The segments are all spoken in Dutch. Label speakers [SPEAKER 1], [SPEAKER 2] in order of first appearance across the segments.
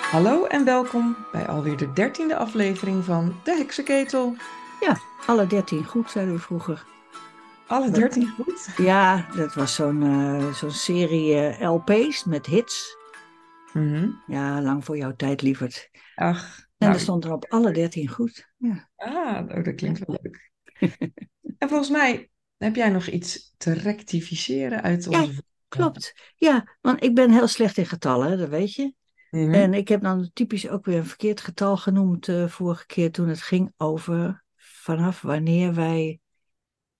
[SPEAKER 1] Hallo en welkom bij alweer de dertiende aflevering van De Heksenketel.
[SPEAKER 2] Ja, alle dertien goed, zeiden we vroeger.
[SPEAKER 1] Alle dertien goed?
[SPEAKER 2] Ja, dat was zo'n eh, zo'n serie eh, LP's met hits.
[SPEAKER 1] Mhm.
[SPEAKER 2] Ja, lang voor jouw tijd, lieverd.
[SPEAKER 1] Ach,
[SPEAKER 2] En
[SPEAKER 1] nou,
[SPEAKER 2] er stond er op alle dertien goed. Ja.
[SPEAKER 1] ah, oh, dat klinkt wel leuk. en volgens mij heb jij nog iets te rectificeren uit
[SPEAKER 2] Ja,
[SPEAKER 1] onze...
[SPEAKER 2] Klopt. Ja, want ik ben heel slecht in getallen, hè, dat weet je.
[SPEAKER 1] Mhm.
[SPEAKER 2] En ik heb dan typisch ook weer een verkeerd getal genoemd eh, vorige keer toen het ging over vanaf wanneer wij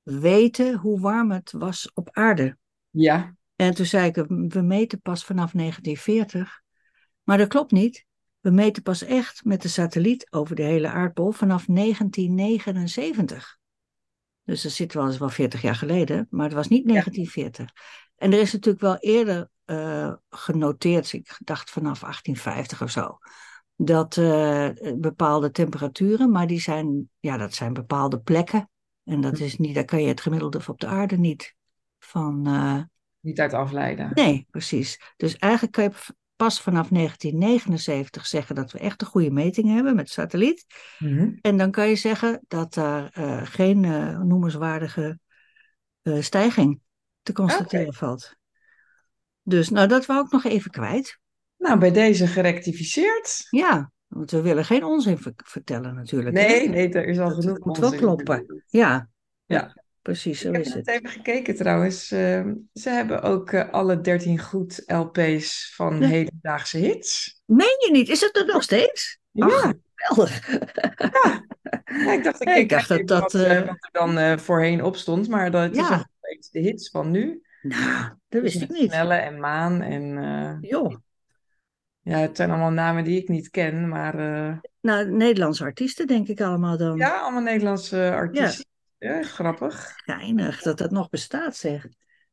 [SPEAKER 2] weten hoe warm het was op aarde.
[SPEAKER 1] Ja,
[SPEAKER 2] En toen zei ik, we meten pas vanaf 1940. Maar dat klopt niet. We meten pas echt met de satelliet over de hele aardbol vanaf 1979. Dus dat zit wel eens wel 40 jaar geleden, maar het was niet 1940. En er is natuurlijk wel eerder eh, genoteerd, ik dacht vanaf 1850 of zo, dat eh, bepaalde temperaturen, maar die zijn, ja, dat zijn bepaalde plekken. En dat is niet, daar kan je het gemiddelde op de aarde niet van eh,
[SPEAKER 1] niet uit afleiden.
[SPEAKER 2] Nee, precies. Dus eigenlijk kan je v- pas vanaf 1979 zeggen dat we echt een goede meting hebben met satelliet.
[SPEAKER 1] Mhm.
[SPEAKER 2] En dan kan je zeggen dat daar eh, geen eh, noemenswaardige eh, stijging te constateren valt. Dus nou, dat wou ik nog even kwijt.
[SPEAKER 1] Nou, bij deze gerectificeerd.
[SPEAKER 2] Ja, want we willen geen onzin ver- vertellen natuurlijk. hè?
[SPEAKER 1] Nee, nee, er is al
[SPEAKER 2] Dat
[SPEAKER 1] genoeg
[SPEAKER 2] moet wel
[SPEAKER 1] onzin.
[SPEAKER 2] kloppen. Ja.
[SPEAKER 1] Ja.
[SPEAKER 2] precies, zo
[SPEAKER 1] Ik heb
[SPEAKER 2] is
[SPEAKER 1] net
[SPEAKER 2] het.
[SPEAKER 1] even gekeken trouwens. Eh, ze hebben ook eh, alle 13 goed LP's van
[SPEAKER 2] Ja.
[SPEAKER 1] hedendaagse hits.
[SPEAKER 2] Meen je niet? Is het er nog steeds?
[SPEAKER 1] Ja.
[SPEAKER 2] Ach, geweldig.
[SPEAKER 1] Ja, ik dacht, ik,
[SPEAKER 2] Ik
[SPEAKER 1] ik
[SPEAKER 2] dacht
[SPEAKER 1] kijk even
[SPEAKER 2] dat dat,
[SPEAKER 1] Wat, eh,
[SPEAKER 2] eh,
[SPEAKER 1] wat er dan eh, voorheen op stond, maar dat het is
[SPEAKER 2] Ja.
[SPEAKER 1] nog steeds de hits van nu.
[SPEAKER 2] Nou, dat
[SPEAKER 1] Dus
[SPEAKER 2] wist ik
[SPEAKER 1] met
[SPEAKER 2] niet.
[SPEAKER 1] Snelle en Maan. En, eh,
[SPEAKER 2] Joh.
[SPEAKER 1] ja, het zijn allemaal namen die ik niet ken, maar eh,
[SPEAKER 2] Nou, Nederlandse artiesten denk ik allemaal dan.
[SPEAKER 1] ja, allemaal Nederlandse artiesten. Ja, grappig.
[SPEAKER 2] Geinig dat dat nog bestaat, zeg.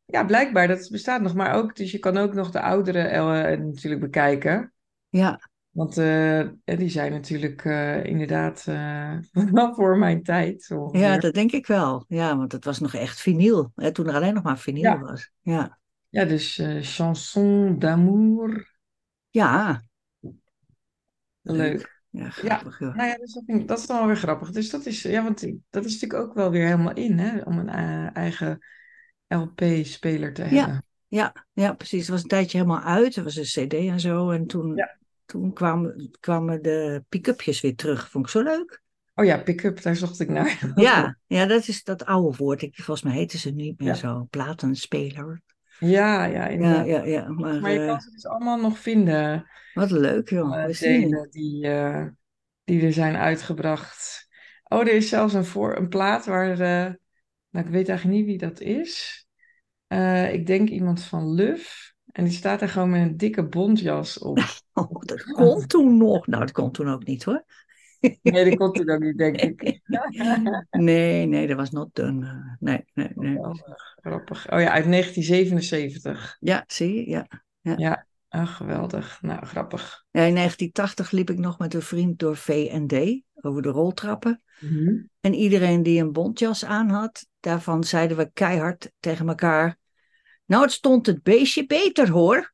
[SPEAKER 1] Ja, blijkbaar, dat bestaat nog maar ook. Dus je kan ook nog de oudere eh, natuurlijk bekijken.
[SPEAKER 2] Ja,
[SPEAKER 1] Want eh, die zijn natuurlijk eh, inderdaad eh, voor mijn tijd. ongeveer.
[SPEAKER 2] ja, dat denk ik wel. Ja, want het was nog echt vinyl. Hè, toen er alleen nog maar vinyl
[SPEAKER 1] Ja.
[SPEAKER 2] was. Ja.
[SPEAKER 1] Ja, dus eh, Chanson d'amour.
[SPEAKER 2] ja,
[SPEAKER 1] Leuk.
[SPEAKER 2] Ja, grappig. joh.
[SPEAKER 1] Nou ja, dus dat, vind ik- dat is dan wel weer grappig. Dus dat is, ja, want ik- dat is natuurlijk ook wel weer helemaal in, hè, om een eh, eigen LP-speler te hebben.
[SPEAKER 2] Ja, precies. Het was een tijdje helemaal uit. Er was een CD en zo. En toen,
[SPEAKER 1] Ja.
[SPEAKER 2] toen kwamen, kwamen de pick-upjes weer terug. Vond ik zo leuk.
[SPEAKER 1] Oh ja, pick-up, daar zocht ik naar.
[SPEAKER 2] Oh, Ja, ja dat is dat oude woord. Ik, volgens mij heten ze niet meer
[SPEAKER 1] Ja.
[SPEAKER 2] zo. Platenspeler.
[SPEAKER 1] Ja, ja,
[SPEAKER 2] Ja,
[SPEAKER 1] inderdaad.
[SPEAKER 2] ja, ja. Maar,
[SPEAKER 1] Maar je
[SPEAKER 2] eh,
[SPEAKER 1] kan ze dus allemaal nog vinden,
[SPEAKER 2] wat leuk, joh.
[SPEAKER 1] eh,
[SPEAKER 2] Wist ik niet.
[SPEAKER 1] delen die, eh, die er zijn uitgebracht. Oh, er is zelfs een, voor, een plaat waar, eh, nou, ik weet eigenlijk niet wie dat is. Eh, ik denk iemand van Luf. En die staat daar gewoon met een dikke bontjas op.
[SPEAKER 2] Oh, dat kon toen nog. Nou, dat kon toen ook niet hoor.
[SPEAKER 1] Nee, dat komt toen ook niet, denk ik.
[SPEAKER 2] Nee, nee, dat was not done. Eh, Nee, nee, nee.
[SPEAKER 1] Oh, eh, grappig. Oh ja, uit 1977.
[SPEAKER 2] Ja, zie je? Ja.
[SPEAKER 1] Ah, geweldig. Nou, grappig.
[SPEAKER 2] Ja, In 1980 liep ik nog met een vriend door V&D over de roltrappen. En iedereen die een bontjas aan had, daarvan zeiden we keihard tegen elkaar... Nou, het stond het beestje beter hoor.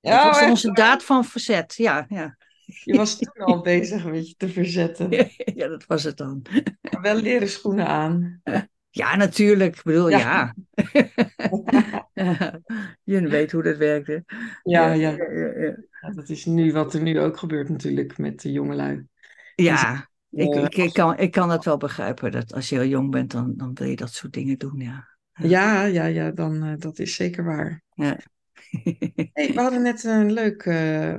[SPEAKER 1] Ja,
[SPEAKER 2] dat was
[SPEAKER 1] echt,
[SPEAKER 2] onze daad van verzet. Ja, ja.
[SPEAKER 1] je was toen al bezig met je te verzetten.
[SPEAKER 2] ja, dat was het dan.
[SPEAKER 1] Maar Wel leren schoenen aan.
[SPEAKER 2] Ja, natuurlijk. Ik bedoel,
[SPEAKER 1] Ja.
[SPEAKER 2] ja. Je weet hoe dat werkte.
[SPEAKER 1] Ja, ja,
[SPEAKER 2] ja, ja.
[SPEAKER 1] ja, dat is nu wat er nu ook gebeurt natuurlijk met de jongelui.
[SPEAKER 2] Ja,
[SPEAKER 1] Dus,
[SPEAKER 2] ik,
[SPEAKER 1] eh,
[SPEAKER 2] ik, ik, kan, ik kan dat wel begrijpen. Dat als je heel jong bent, dan, dan wil je dat soort dingen doen, ja.
[SPEAKER 1] Ja, ja, ja, dan, eh, dat is zeker waar. Hey, we hadden net een leuk eh,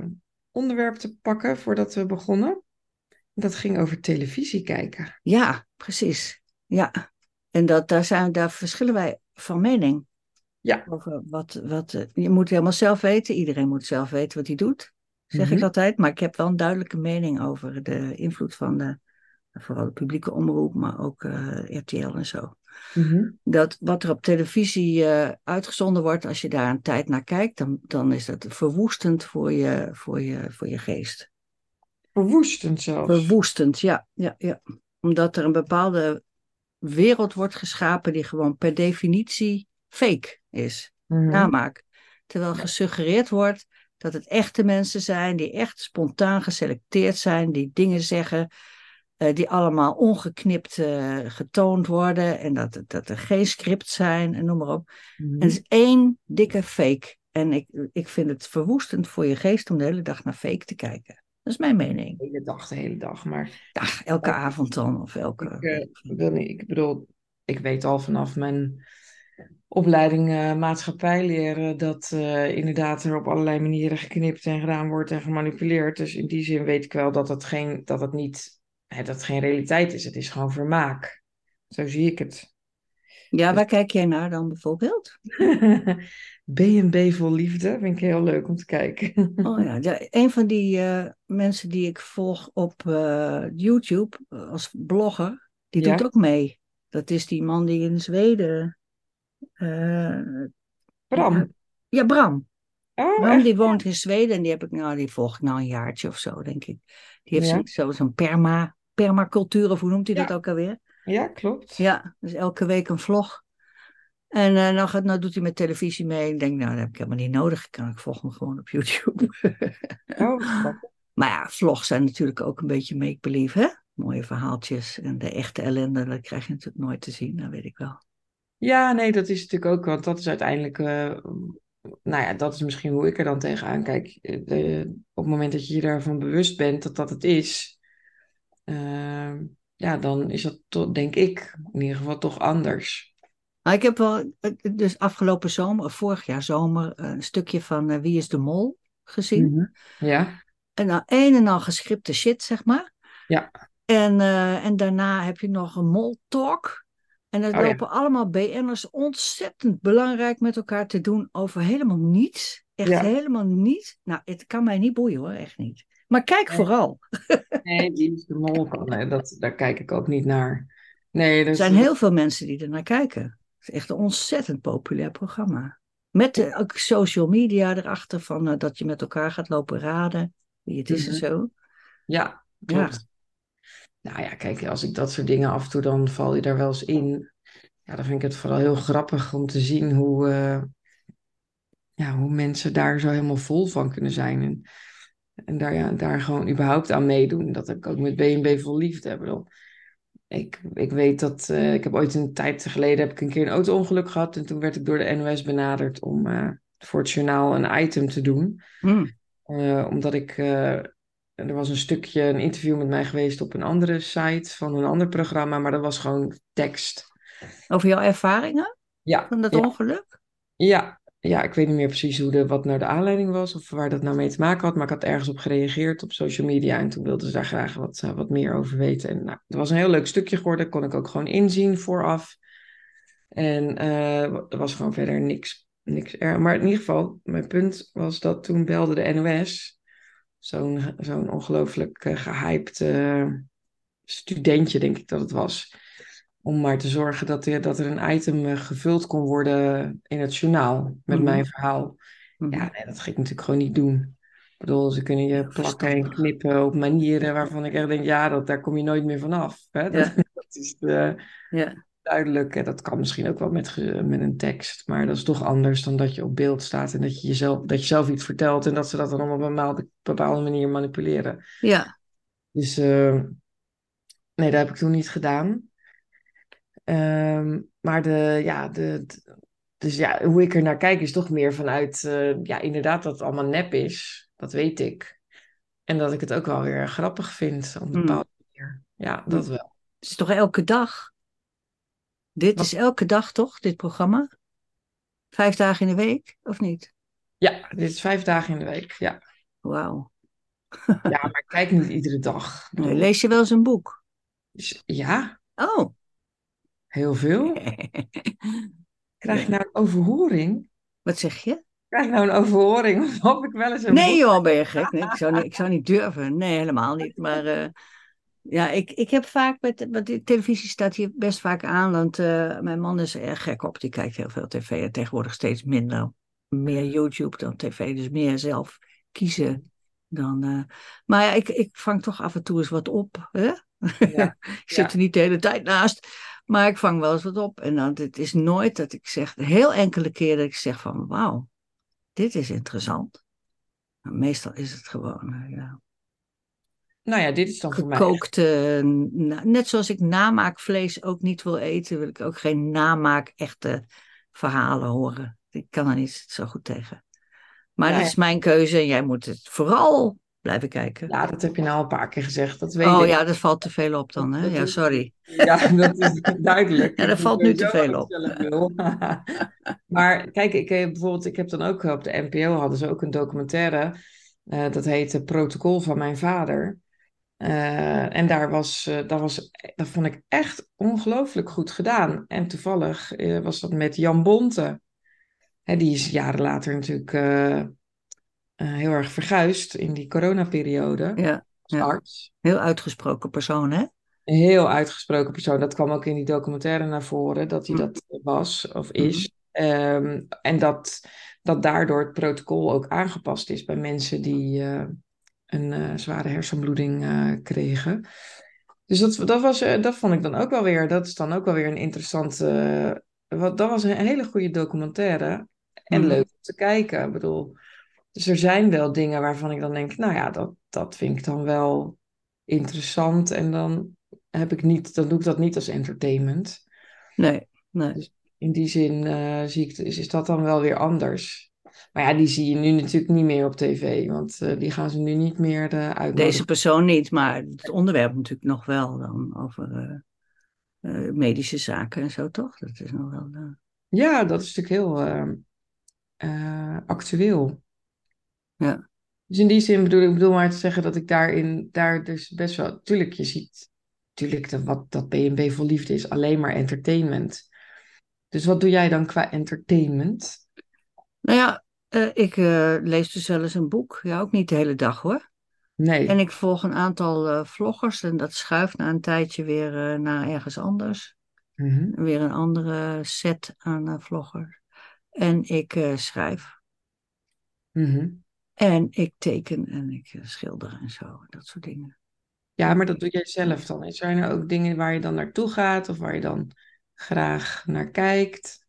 [SPEAKER 1] onderwerp te pakken voordat we begonnen. Dat ging over televisie kijken.
[SPEAKER 2] ja, precies. Ja. En dat, daar, zijn, daar verschillen wij van mening.
[SPEAKER 1] Ja.
[SPEAKER 2] Over wat, wat, eh, je moet helemaal zelf weten. Iedereen moet zelf weten wat hij doet, zeg ik
[SPEAKER 1] Mhm.
[SPEAKER 2] altijd. Maar ik heb wel een duidelijke mening over de invloed van de, vooral de publieke omroep, maar ook eh, RTL en zo. Mhm. dat wat er op televisie eh, uitgezonden wordt, als je daar een tijd naar kijkt, dan, dan is dat verwoestend voor je, voor je, voor je geest.
[SPEAKER 1] Verwoestend zelfs.
[SPEAKER 2] Verwoestend, ja, ja, ja. Omdat er een bepaalde wereld wordt geschapen die gewoon per definitie fake is,
[SPEAKER 1] Mhm.
[SPEAKER 2] namaak. Terwijl gesuggereerd wordt Dat het echte mensen zijn die echt spontaan geselecteerd zijn, die dingen zeggen, eh, die allemaal ongeknipt eh, getoond worden en dat, dat er geen script zijn en noem maar op. En
[SPEAKER 1] Mhm.
[SPEAKER 2] het is één dikke fake. En ik, ik vind het verwoestend voor je geest om de hele dag naar fake te kijken. Dat is mijn mening.
[SPEAKER 1] De hele dag, de hele dag. Maar
[SPEAKER 2] Ja, elke avond dan of elke...
[SPEAKER 1] ik, eh, wil niet, ik bedoel, ik weet al vanaf mijn opleiding eh, maatschappij leren dat eh, inderdaad er op allerlei manieren geknipt en gedaan wordt en gemanipuleerd. Dus in die zin weet ik wel dat het geen, dat het niet, hè, dat het geen realiteit is. Het is gewoon vermaak. Zo zie ik het.
[SPEAKER 2] Ja, waar kijk jij naar dan bijvoorbeeld?
[SPEAKER 1] B&B vol liefde vind ik heel leuk om te kijken.
[SPEAKER 2] Oh ja, ja, een van die eh, mensen die ik volg op eh, YouTube eh, als blogger, die
[SPEAKER 1] Ja.
[SPEAKER 2] doet ook mee. Dat is die man die in Zweden... eh,
[SPEAKER 1] Bram.
[SPEAKER 2] ja, Bram.
[SPEAKER 1] Oh,
[SPEAKER 2] Bram
[SPEAKER 1] echt?
[SPEAKER 2] die woont in Zweden en die, heb ik, nou, die volg ik nou een jaartje of zo, denk ik. Die heeft
[SPEAKER 1] Ja.
[SPEAKER 2] zoiets- zo- zo'n perma, permacultuur, of hoe noemt hij
[SPEAKER 1] Ja.
[SPEAKER 2] dat ook alweer?
[SPEAKER 1] Ja, klopt.
[SPEAKER 2] Ja, dus elke week een vlog. En eh, nou, gaat, nou doet hij met televisie mee. Ik denk, nou, dat heb ik helemaal niet nodig. Kan ik volg hem gewoon op YouTube.
[SPEAKER 1] Oh, grappig.
[SPEAKER 2] maar ja, vlogs zijn natuurlijk ook een beetje make-believe, hè? Mooie verhaaltjes en de echte ellende, dat krijg je natuurlijk nooit te zien, dat weet ik wel.
[SPEAKER 1] Ja, nee, dat is natuurlijk ook, want dat is uiteindelijk, eh, nou ja, dat is misschien hoe ik er dan tegenaan kijk. Eh, de- op het moment dat je je daarvan bewust bent dat dat het is, eh, ja, dan is dat, toch, denk ik, in ieder geval toch anders.
[SPEAKER 2] Maar ik heb wel, eh, dus afgelopen zomer, of vorig jaar zomer, eh, een stukje van eh, Wie is de Mol gezien.
[SPEAKER 1] Ja,
[SPEAKER 2] En nou, een en al geschripte shit, zeg maar.
[SPEAKER 1] Ja.
[SPEAKER 2] En, eh, en daarna heb je nog een mol talk. En daar
[SPEAKER 1] Oh ja.
[SPEAKER 2] lopen allemaal BN'ers ontzettend belangrijk met elkaar te doen over helemaal niets. Echt
[SPEAKER 1] Ja.
[SPEAKER 2] helemaal niets. Nou, het kan mij niet boeien hoor, echt niet. Maar kijk
[SPEAKER 1] Nee.
[SPEAKER 2] vooral.
[SPEAKER 1] nee, die is de mol van, eh, dat, daar kijk ik ook niet naar. Nee,
[SPEAKER 2] Er
[SPEAKER 1] dus,
[SPEAKER 2] zijn heel veel mensen die er naar kijken. Het is echt een ontzettend populair programma. Met eh, ook social media erachter van eh, dat je met elkaar gaat lopen raden. Wie het is en
[SPEAKER 1] Mhm.
[SPEAKER 2] zo.
[SPEAKER 1] ja, klopt. Nou ja, kijk, als ik dat soort dingen af en toe, dan val je daar wel eens in. Ja, dan vind ik het vooral heel grappig om te zien hoe, eh, ja, hoe mensen daar zo helemaal vol van kunnen zijn. En, en daar, ja, daar gewoon überhaupt aan meedoen. Dat heb ik ook met B&B vol liefde. Ik bedoel, ik, ik weet dat, eh, ik heb ooit een tijd geleden heb ik een keer een auto-ongeluk gehad. En toen werd ik door de NOS benaderd om eh, voor het journaal een item te doen.
[SPEAKER 2] Hm.
[SPEAKER 1] Eh, omdat ik. eh, er was een stukje, een interview met mij geweest op een andere site van een ander programma, maar dat was gewoon tekst.
[SPEAKER 2] Over jouw ervaringen
[SPEAKER 1] Ja,
[SPEAKER 2] van dat
[SPEAKER 1] ja,
[SPEAKER 2] ongeluk?
[SPEAKER 1] ja, ja, ik weet niet meer precies hoe de, wat nou de aanleiding was of waar dat nou mee te maken had, maar ik had ergens op gereageerd op social media en toen wilden ze daar graag wat, eh, wat meer over weten. En nou, het was een heel leuk stukje geworden, kon ik ook gewoon inzien vooraf. En eh, er was gewoon verder niks, niks er. Maar in ieder geval, mijn punt was dat toen belde de NOS, zo'n zo'n ongelooflijk eh, gehyped eh, studentje, denk ik dat het was. Om maar te zorgen dat er, dat er een item eh, gevuld kon worden in het journaal met
[SPEAKER 2] Mhm.
[SPEAKER 1] mijn verhaal.
[SPEAKER 2] Mhm.
[SPEAKER 1] Ja, nee, dat ging ik natuurlijk gewoon niet doen. Ik bedoel, ze kunnen je plakken en knippen op manieren waarvan ik echt denk, ja, dat, daar kom je nooit meer vanaf. Hè? Dat, dat is eh,
[SPEAKER 2] Ja.
[SPEAKER 1] duidelijk. En dat kan misschien ook wel met, ge- met een tekst. Maar dat is toch anders dan dat je op beeld staat en dat je, jezelf, dat je zelf iets vertelt en dat ze dat dan op een bepaalde, bepaalde manier manipuleren.
[SPEAKER 2] Ja,
[SPEAKER 1] Dus eh, nee, dat heb ik toen niet gedaan. Ehm, maar de, ja, de, de- dus ja, hoe ik er naar kijk is toch meer vanuit, eh, ja, inderdaad dat het allemaal nep is. Dat weet ik. En dat ik het ook wel weer grappig vind op een
[SPEAKER 2] Mm.
[SPEAKER 1] bepaalde manier. Ja, dat wel.
[SPEAKER 2] het is toch elke dag? Dit
[SPEAKER 1] Wat?
[SPEAKER 2] is elke dag toch, dit programma? Vijf dagen in de week, of niet?
[SPEAKER 1] Ja, dit is vijf dagen in de week. Ja,
[SPEAKER 2] Wauw.
[SPEAKER 1] ja maar ik kijk niet iedere dag.
[SPEAKER 2] Nee, lees je wel eens een boek?
[SPEAKER 1] Dus ja,
[SPEAKER 2] Oh.
[SPEAKER 1] heel veel. Krijg ik nou een overhoring?
[SPEAKER 2] Wat zeg je?
[SPEAKER 1] Krijg ik nou een overhoring? Of hoop ik wel eens een
[SPEAKER 2] Nee
[SPEAKER 1] boek-
[SPEAKER 2] joh, ben je gek? Nee, ik, zou niet, ik zou niet durven. Nee, helemaal niet. Maar eh, ja, ik, ik heb vaak met... Want de televisie staat hier best vaak aan. Want eh, mijn man is erg gek op. Die kijkt heel veel tv. En tegenwoordig steeds minder. Meer YouTube dan tv. Dus meer zelf kiezen dan... eh, maar ja, ik, ik vang toch af en toe eens wat op. Hè?
[SPEAKER 1] Ja,
[SPEAKER 2] Ik zit er niet de hele tijd naast. Maar ik vang wel eens wat op. En dan, het is nooit dat ik zeg, heel enkele keer dat ik zeg van wauw, dit is interessant. Nou, meestal is het gewoon eh, ja,
[SPEAKER 1] Nou ja, dit is dan voor mij.
[SPEAKER 2] gekookte. na- net zoals ik namaakvlees ook niet wil eten, wil ik ook geen namaak echte verhalen horen. Ik kan er niet zo goed tegen. Maar
[SPEAKER 1] Nou
[SPEAKER 2] dat
[SPEAKER 1] ja.
[SPEAKER 2] is mijn keuze en jij moet het vooral blijven kijken.
[SPEAKER 1] Ja, dat heb je nou al een paar keer gezegd. Dat weet
[SPEAKER 2] Oh
[SPEAKER 1] ik.
[SPEAKER 2] ja, dat valt te veel op dan, hè?
[SPEAKER 1] Dat
[SPEAKER 2] Ja,
[SPEAKER 1] is-
[SPEAKER 2] sorry.
[SPEAKER 1] Ja, dat is duidelijk.
[SPEAKER 2] Ja, dat
[SPEAKER 1] Ik
[SPEAKER 2] valt
[SPEAKER 1] doe
[SPEAKER 2] nu te
[SPEAKER 1] sowieso
[SPEAKER 2] veel
[SPEAKER 1] wat
[SPEAKER 2] op.
[SPEAKER 1] ik zelf wil. maar kijk, ik heb bijvoorbeeld, ik heb dan ook eh, op de NPO hadden ze ook een documentaire. eh, dat heette Protocol van mijn vader. Eh, en daar was, eh, dat was, dat vond ik echt ongelooflijk goed gedaan. En toevallig eh, was dat met Jan Bonte. Hè, die is jaren later natuurlijk eh, eh, heel erg verguisd in die coronaperiode.
[SPEAKER 2] Ja,
[SPEAKER 1] Als
[SPEAKER 2] ja.
[SPEAKER 1] arts.
[SPEAKER 2] heel uitgesproken persoon, hè?
[SPEAKER 1] Een heel uitgesproken persoon. Dat kwam ook in die documentaire naar voren, dat hij
[SPEAKER 2] Mhm.
[SPEAKER 1] dat was of is. Ehm, en dat, dat daardoor het protocol ook aangepast is bij mensen die eh, een eh, zware hersenbloeding eh, kregen. Dus dat, dat, was, eh, dat vond ik dan ook wel weer, dat is dan ook wel weer een interessante. eh, wat, dat was een hele goede documentaire. En
[SPEAKER 2] Mhm.
[SPEAKER 1] leuk om te kijken. Ik bedoel, dus er zijn wel dingen waarvan ik dan denk, nou ja, dat, dat vind ik dan wel interessant. En dan heb ik niet, dan doe ik dat niet als entertainment.
[SPEAKER 2] Nee, nee.
[SPEAKER 1] In die zin eh, zie ik, is, is dat dan wel weer anders. Maar ja, die zie je nu natuurlijk niet meer op tv, want eh, die gaan ze nu niet meer eh uitnodigen.
[SPEAKER 2] Deze persoon niet, maar het onderwerp natuurlijk nog wel dan over eh, eh, medische zaken en zo, toch? Dat is nog wel. eh,
[SPEAKER 1] Ja, dat is natuurlijk heel eh, eh, actueel.
[SPEAKER 2] Ja.
[SPEAKER 1] Dus in die zin bedoel ik bedoel maar te zeggen dat ik daarin, daar dus best wel, tuurlijk je ziet, tuurlijk dat, wat, dat BNB vol liefde is alleen maar entertainment. Dus wat doe jij dan qua entertainment?
[SPEAKER 2] Nou ja, eh, ik eh, lees dus wel eens een boek. Ja, ook niet de hele dag hoor.
[SPEAKER 1] Nee,
[SPEAKER 2] En ik volg een aantal eh, vloggers en dat schuift na een tijdje weer eh, naar ergens anders.
[SPEAKER 1] Mhm.
[SPEAKER 2] Weer een andere set aan eh, vloggers. En ik eh, schrijf.
[SPEAKER 1] Mhm.
[SPEAKER 2] En ik teken en ik eh, schilder en zo, dat soort dingen.
[SPEAKER 1] Ja, maar dat doe jij zelf dan. Zijn er nou ook dingen waar je dan naartoe gaat of waar je dan graag naar kijkt?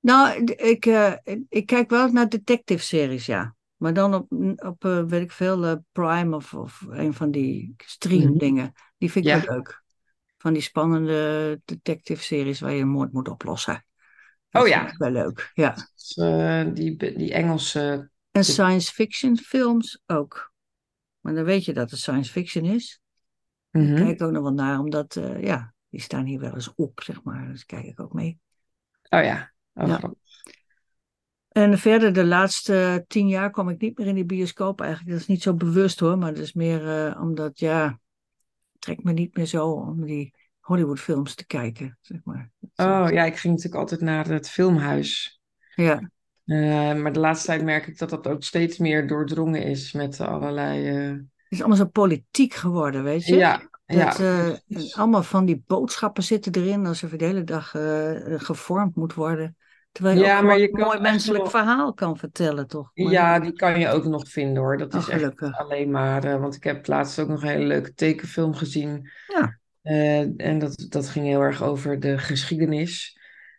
[SPEAKER 2] Nou, d- ik, eh, ik kijk wel naar detective series, ja. Maar dan op, op eh, weet ik veel, eh, Prime of, of een van die stream
[SPEAKER 1] Mhm.
[SPEAKER 2] dingen. Die vind ik
[SPEAKER 1] Ja.
[SPEAKER 2] wel leuk. Van die spannende detective series waar je een moord moet oplossen. Dat
[SPEAKER 1] Oh
[SPEAKER 2] vind
[SPEAKER 1] ja.
[SPEAKER 2] ik wel leuk, ja.
[SPEAKER 1] Dus, eh, die, die Engelse.
[SPEAKER 2] En
[SPEAKER 1] Dus-
[SPEAKER 2] science fiction films ook. Maar dan weet je dat het science fiction is.
[SPEAKER 1] Mhm.
[SPEAKER 2] Kijk ook nog wel naar, omdat, eh, ja, die staan hier wel eens op, zeg maar. Dus kijk ik ook mee.
[SPEAKER 1] Oh ja. Oh,
[SPEAKER 2] Ja.
[SPEAKER 1] grappig.
[SPEAKER 2] En verder, de laatste tien jaar kwam ik niet meer in de bioscoop eigenlijk. Dat is niet zo bewust hoor, maar dat is meer eh, omdat, ja, het trekt me niet meer zo om die Hollywoodfilms te kijken, zeg maar.
[SPEAKER 1] Oh ja, ik ging natuurlijk altijd naar het filmhuis.
[SPEAKER 2] Ja,
[SPEAKER 1] Eh, maar de laatste tijd merk ik dat dat ook steeds meer doordrongen is met allerlei. eh,
[SPEAKER 2] het is allemaal zo politiek geworden, weet je.
[SPEAKER 1] Ja, ja.
[SPEAKER 2] Dat, eh,
[SPEAKER 1] precies.
[SPEAKER 2] allemaal van die boodschappen zitten erin, alsof je de hele dag eh, gevormd moet worden. Terwijl je
[SPEAKER 1] Ja,
[SPEAKER 2] ook
[SPEAKER 1] maar
[SPEAKER 2] gewoon
[SPEAKER 1] je
[SPEAKER 2] een
[SPEAKER 1] kan
[SPEAKER 2] mooi
[SPEAKER 1] echt
[SPEAKER 2] menselijk
[SPEAKER 1] wel-
[SPEAKER 2] verhaal kan vertellen, toch? Maar-
[SPEAKER 1] Ja, die kan je ook nog vinden hoor. Dat
[SPEAKER 2] Oh,
[SPEAKER 1] is echt
[SPEAKER 2] gelukkig.
[SPEAKER 1] alleen maar. eh, want ik heb laatst ook nog een hele leuke tekenfilm gezien.
[SPEAKER 2] Ja.
[SPEAKER 1] Eh, en dat, dat ging heel erg over de geschiedenis.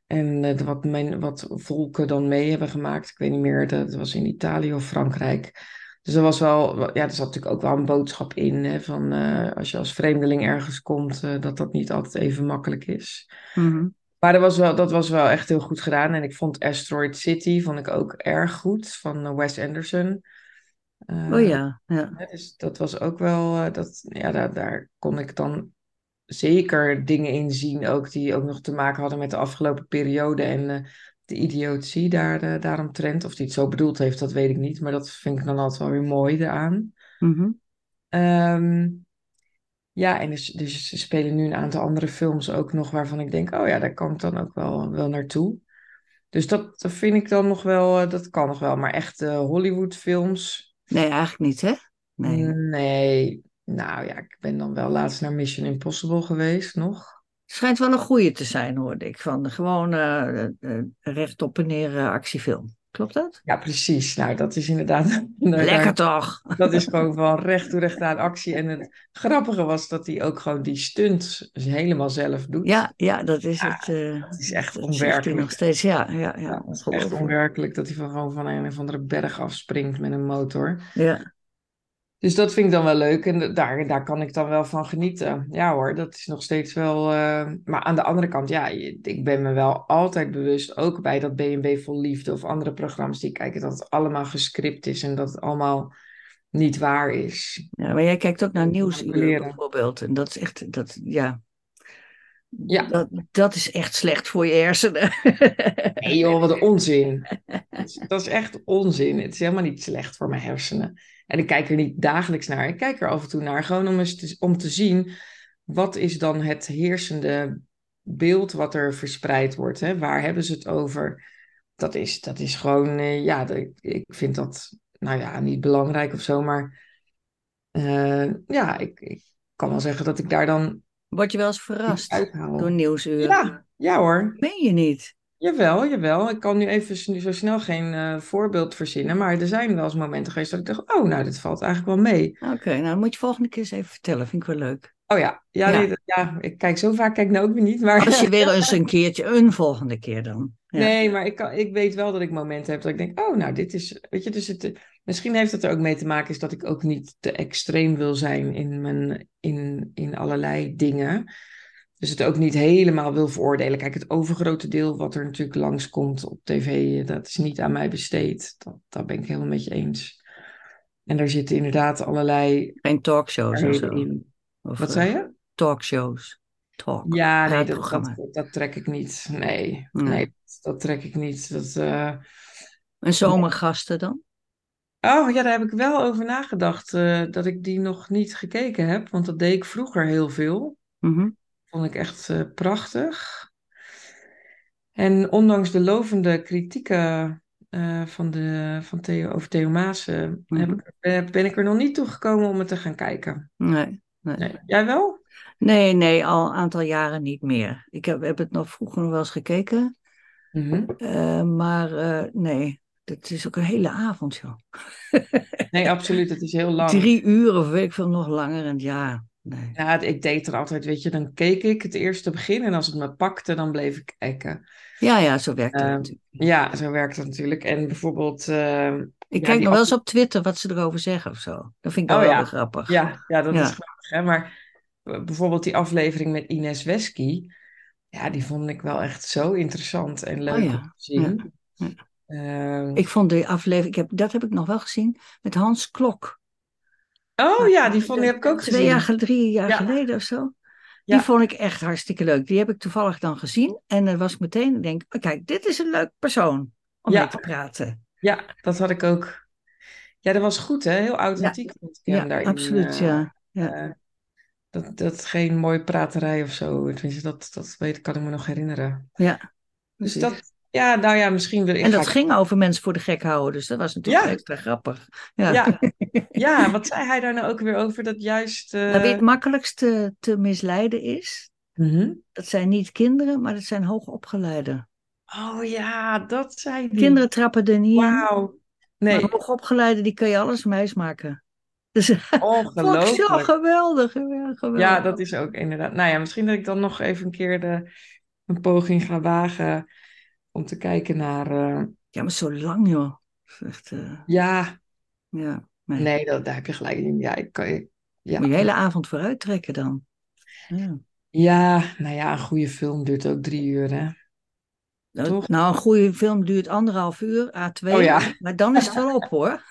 [SPEAKER 1] En eh, wat, men, wat volken dan mee hebben gemaakt. Ik weet niet meer, dat was in Italië of Frankrijk. Dus er was wel, ja, er zat natuurlijk ook wel een boodschap in. Hè, van eh, als je als vreemdeling ergens komt, eh, dat dat niet altijd even makkelijk is.
[SPEAKER 2] Mhm.
[SPEAKER 1] Maar dat was, wel, dat was wel echt heel goed gedaan. En ik vond Asteroid City vond ik ook erg goed van eh, Wes Anderson. Eh,
[SPEAKER 2] Oh ja, ja.
[SPEAKER 1] hè, Dus dat was ook wel, eh, dat, ja, daar, daar kon ik dan zeker dingen in zien, ook die ook nog te maken hadden met de afgelopen periode en eh, de idiotie daar, eh, daaromtrent. Of die het zo bedoeld heeft, dat weet ik niet, maar dat vind ik dan altijd wel weer mooi eraan.
[SPEAKER 2] Mhm.
[SPEAKER 1] Ehm, ja, en dus, dus ze spelen nu een aantal andere films ook nog waarvan ik denk, oh ja, daar kan ik dan ook wel, wel naartoe. Dus dat, dat vind ik dan nog wel, eh, dat kan nog wel. Maar echt eh, Hollywoodfilms,
[SPEAKER 2] Nee, eigenlijk niet, hè? Nee.
[SPEAKER 1] nee. Nou ja, ik ben dan wel laatst naar Mission Impossible geweest nog.
[SPEAKER 2] Schijnt wel een goeie te zijn, hoorde ik. Van gewoon eh, eh, recht op en neer eh, actiefilm. Klopt dat?
[SPEAKER 1] Ja, precies. Nou, dat is inderdaad...
[SPEAKER 2] Lekker toch?
[SPEAKER 1] Dat is gewoon van recht toe recht aan actie. En het grappige was dat hij ook gewoon die stunt helemaal zelf doet.
[SPEAKER 2] Ja, ja dat is het. eh,
[SPEAKER 1] Het is echt
[SPEAKER 2] dat zegt hij nog
[SPEAKER 1] onwerkelijk.
[SPEAKER 2] steeds. Ja, ja, ja.
[SPEAKER 1] Ja, het is echt
[SPEAKER 2] ongelooflijk.
[SPEAKER 1] onwerkelijk dat hij van, gewoon van een of andere berg afspringt met een motor.
[SPEAKER 2] ja.
[SPEAKER 1] Dus dat vind ik dan wel leuk en da- daar, daar kan ik dan wel van genieten. Ja hoor, dat is nog steeds wel. eh, Maar aan de andere kant, ja, je- ik ben me wel altijd bewust, ook bij dat BNB Vol Liefde of andere programma's die kijken, dat het allemaal gescript is en dat het allemaal niet waar is.
[SPEAKER 2] ja, maar jij kijkt ook naar nieuwsuur
[SPEAKER 1] Leren.
[SPEAKER 2] bijvoorbeeld. En dat is echt, dat, ja.
[SPEAKER 1] Ja.
[SPEAKER 2] Dat, dat is echt slecht voor je hersenen.
[SPEAKER 1] Nee joh, wat een onzin. Dat is- Dat is echt onzin. Het is helemaal niet slecht voor mijn hersenen. En ik kijk er niet dagelijks naar. Ik kijk er af en toe naar, gewoon om, eens te, om te zien wat is dan het heersende beeld wat er verspreid wordt. Hè? Waar hebben ze het over? Dat is, dat is gewoon, eh, ja, de- ik vind dat, nou ja, niet belangrijk of zo, maar eh, ja, ik, ik kan wel zeggen dat ik daar dan
[SPEAKER 2] Word je wel eens
[SPEAKER 1] iets
[SPEAKER 2] verrast door
[SPEAKER 1] uithaal.
[SPEAKER 2] nieuwsuur?
[SPEAKER 1] Ja, ja hoor.
[SPEAKER 2] Meen je niet?
[SPEAKER 1] Jawel, jawel. Ik kan nu even s- nu zo snel geen eh, voorbeeld verzinnen. Maar er zijn wel eens momenten geweest dat ik dacht: oh, nou, dit valt eigenlijk wel mee.
[SPEAKER 2] Oké, nou dat moet je volgende keer eens even vertellen. Vind ik wel leuk.
[SPEAKER 1] Oh ja, ja,
[SPEAKER 2] Ja.
[SPEAKER 1] nee, dat- ja ik kijk zo vaak, kijk nou ook weer niet. Maar
[SPEAKER 2] Als je weer eens een keertje, een volgende keer dan. Ja.
[SPEAKER 1] nee, maar ik, kan, ik weet wel dat ik momenten heb dat ik denk: oh, nou, dit is. Weet je, dus het, eh, misschien heeft het er ook mee te maken is dat ik ook niet te extreem wil zijn in, mijn, in, in allerlei dingen. Dus het ook niet helemaal wil veroordelen. Kijk, het overgrote deel wat er natuurlijk langskomt op tv, eh, dat is niet aan mij besteed. Dat, dat ben ik helemaal met je eens. En daar zitten inderdaad allerlei
[SPEAKER 2] Geen talkshows of
[SPEAKER 1] waarheden
[SPEAKER 2] Oh, zo.
[SPEAKER 1] in.
[SPEAKER 2] Of,
[SPEAKER 1] Wat
[SPEAKER 2] eh,
[SPEAKER 1] zei je?
[SPEAKER 2] Talkshows. Talk.
[SPEAKER 1] Ja, nee, dat,
[SPEAKER 2] praatprogramma.
[SPEAKER 1] dat, dat trek ik niet. Nee,
[SPEAKER 2] Nee.
[SPEAKER 1] nee, dat, dat trek ik niet. Dat, eh,
[SPEAKER 2] En zomergasten dan?
[SPEAKER 1] Oh ja, daar heb ik wel over nagedacht eh, dat ik die nog niet gekeken heb. Want dat deed ik vroeger heel veel.
[SPEAKER 2] Mhm.
[SPEAKER 1] Vond ik echt eh, prachtig. En ondanks de lovende kritieken eh, van, de, van Theo, over Theo Maassen,
[SPEAKER 2] Mhm.
[SPEAKER 1] heb ik, eh, ben ik er nog niet toe gekomen om het te gaan kijken.
[SPEAKER 2] Nee.
[SPEAKER 1] Nee. Jij wel?
[SPEAKER 2] Nee, nee, al een aantal jaren niet meer. Ik heb, heb het nog vroeger nog wel eens gekeken. eh, maar eh, nee, dat is ook een hele avond, joh.
[SPEAKER 1] Nee, absoluut. Het is heel lang.
[SPEAKER 2] Drie uur of weet ik veel, nog langer. En ja, nee.
[SPEAKER 1] Ja, ik deed er altijd, weet je, dan keek ik het eerste begin en als het me pakte, dan bleef ik kijken.
[SPEAKER 2] Ja, ja, zo werkt het
[SPEAKER 1] Ehm,
[SPEAKER 2] natuurlijk.
[SPEAKER 1] Ja, zo werkt dat natuurlijk. En bijvoorbeeld, eh,
[SPEAKER 2] Ik
[SPEAKER 1] ja,
[SPEAKER 2] kijk
[SPEAKER 1] die
[SPEAKER 2] nog wel eens op Twitter wat ze erover zeggen of zo. Dat vind ik dan
[SPEAKER 1] Oh,
[SPEAKER 2] wel
[SPEAKER 1] ja.
[SPEAKER 2] weer grappig.
[SPEAKER 1] Ja, ja dat
[SPEAKER 2] Ja.
[SPEAKER 1] is grappig. Hè? Maar eh, bijvoorbeeld die aflevering met Ines Wesky. Ja, die vond ik wel echt zo interessant en leuk
[SPEAKER 2] Oh ja,
[SPEAKER 1] om te zien.
[SPEAKER 2] ja,
[SPEAKER 1] Ehm,
[SPEAKER 2] Ik vond die aflevering, ik heb, dat heb ik nog wel gezien, met Hans Klok.
[SPEAKER 1] oh ja, die, vond, die heb ik ook
[SPEAKER 2] Twee
[SPEAKER 1] gezien.
[SPEAKER 2] jaar, gel- drie jaar
[SPEAKER 1] Ja.
[SPEAKER 2] geleden of zo. Die
[SPEAKER 1] Ja.
[SPEAKER 2] vond ik echt hartstikke leuk. Die heb ik toevallig dan gezien. En dan was ik meteen, ik denk oh, kijk, dit is een leuk persoon om
[SPEAKER 1] Ja.
[SPEAKER 2] mee te praten.
[SPEAKER 1] Ja, dat had ik ook. Ja, dat was goed, hè? Heel authentiek vond ik hem
[SPEAKER 2] Ja,
[SPEAKER 1] daarin.
[SPEAKER 2] absoluut,
[SPEAKER 1] eh,
[SPEAKER 2] ja.
[SPEAKER 1] eh, dat, dat geen mooie praterij of zo. Tenminste, dat, dat weet, kan ik me nog herinneren.
[SPEAKER 2] ja.
[SPEAKER 1] Dus
[SPEAKER 2] Precies.
[SPEAKER 1] dat, ja, nou ja, misschien wil ik.
[SPEAKER 2] en dat
[SPEAKER 1] ga-
[SPEAKER 2] ging over mensen voor de gek houden, dus dat was natuurlijk
[SPEAKER 1] Ja.
[SPEAKER 2] extra grappig. Ja.
[SPEAKER 1] ja, ja, wat zei hij daar nou ook weer over? Dat juist. eh,
[SPEAKER 2] Nou, wie het makkelijkst te, te misleiden is,
[SPEAKER 1] mhm.
[SPEAKER 2] dat zijn niet kinderen, maar dat zijn hoogopgeleiden.
[SPEAKER 1] Oh ja, dat zijn die.
[SPEAKER 2] Kinderen eh, trappen er niet in.
[SPEAKER 1] Hmm. Wauw. Nee,
[SPEAKER 2] Maar hoogopgeleiden, die kan je alles meismaken. Dus vond ik zo
[SPEAKER 1] ongelooflijk.
[SPEAKER 2] geweldig, geweldig, geweldig.
[SPEAKER 1] Ja, dat is ook inderdaad. Nou ja, misschien dat ik dan nog even een keer de, een poging ga wagen om te kijken naar. eh,
[SPEAKER 2] Ja, maar zo lang, joh. Dat is Echt, eh,
[SPEAKER 1] ja,
[SPEAKER 2] ja.
[SPEAKER 1] nee, dat, daar heb je gelijk in. Ja, ik kan je. Ja.
[SPEAKER 2] Moet je de hele avond vooruit trekken dan. Ja.
[SPEAKER 1] ja, nou ja, een goede film duurt ook drie uur, hè?
[SPEAKER 2] Dat-
[SPEAKER 1] Toch?
[SPEAKER 2] Nou, een goede film duurt anderhalf uur, A2.
[SPEAKER 1] Oh ja.
[SPEAKER 2] Maar dan is het wel op, hoor.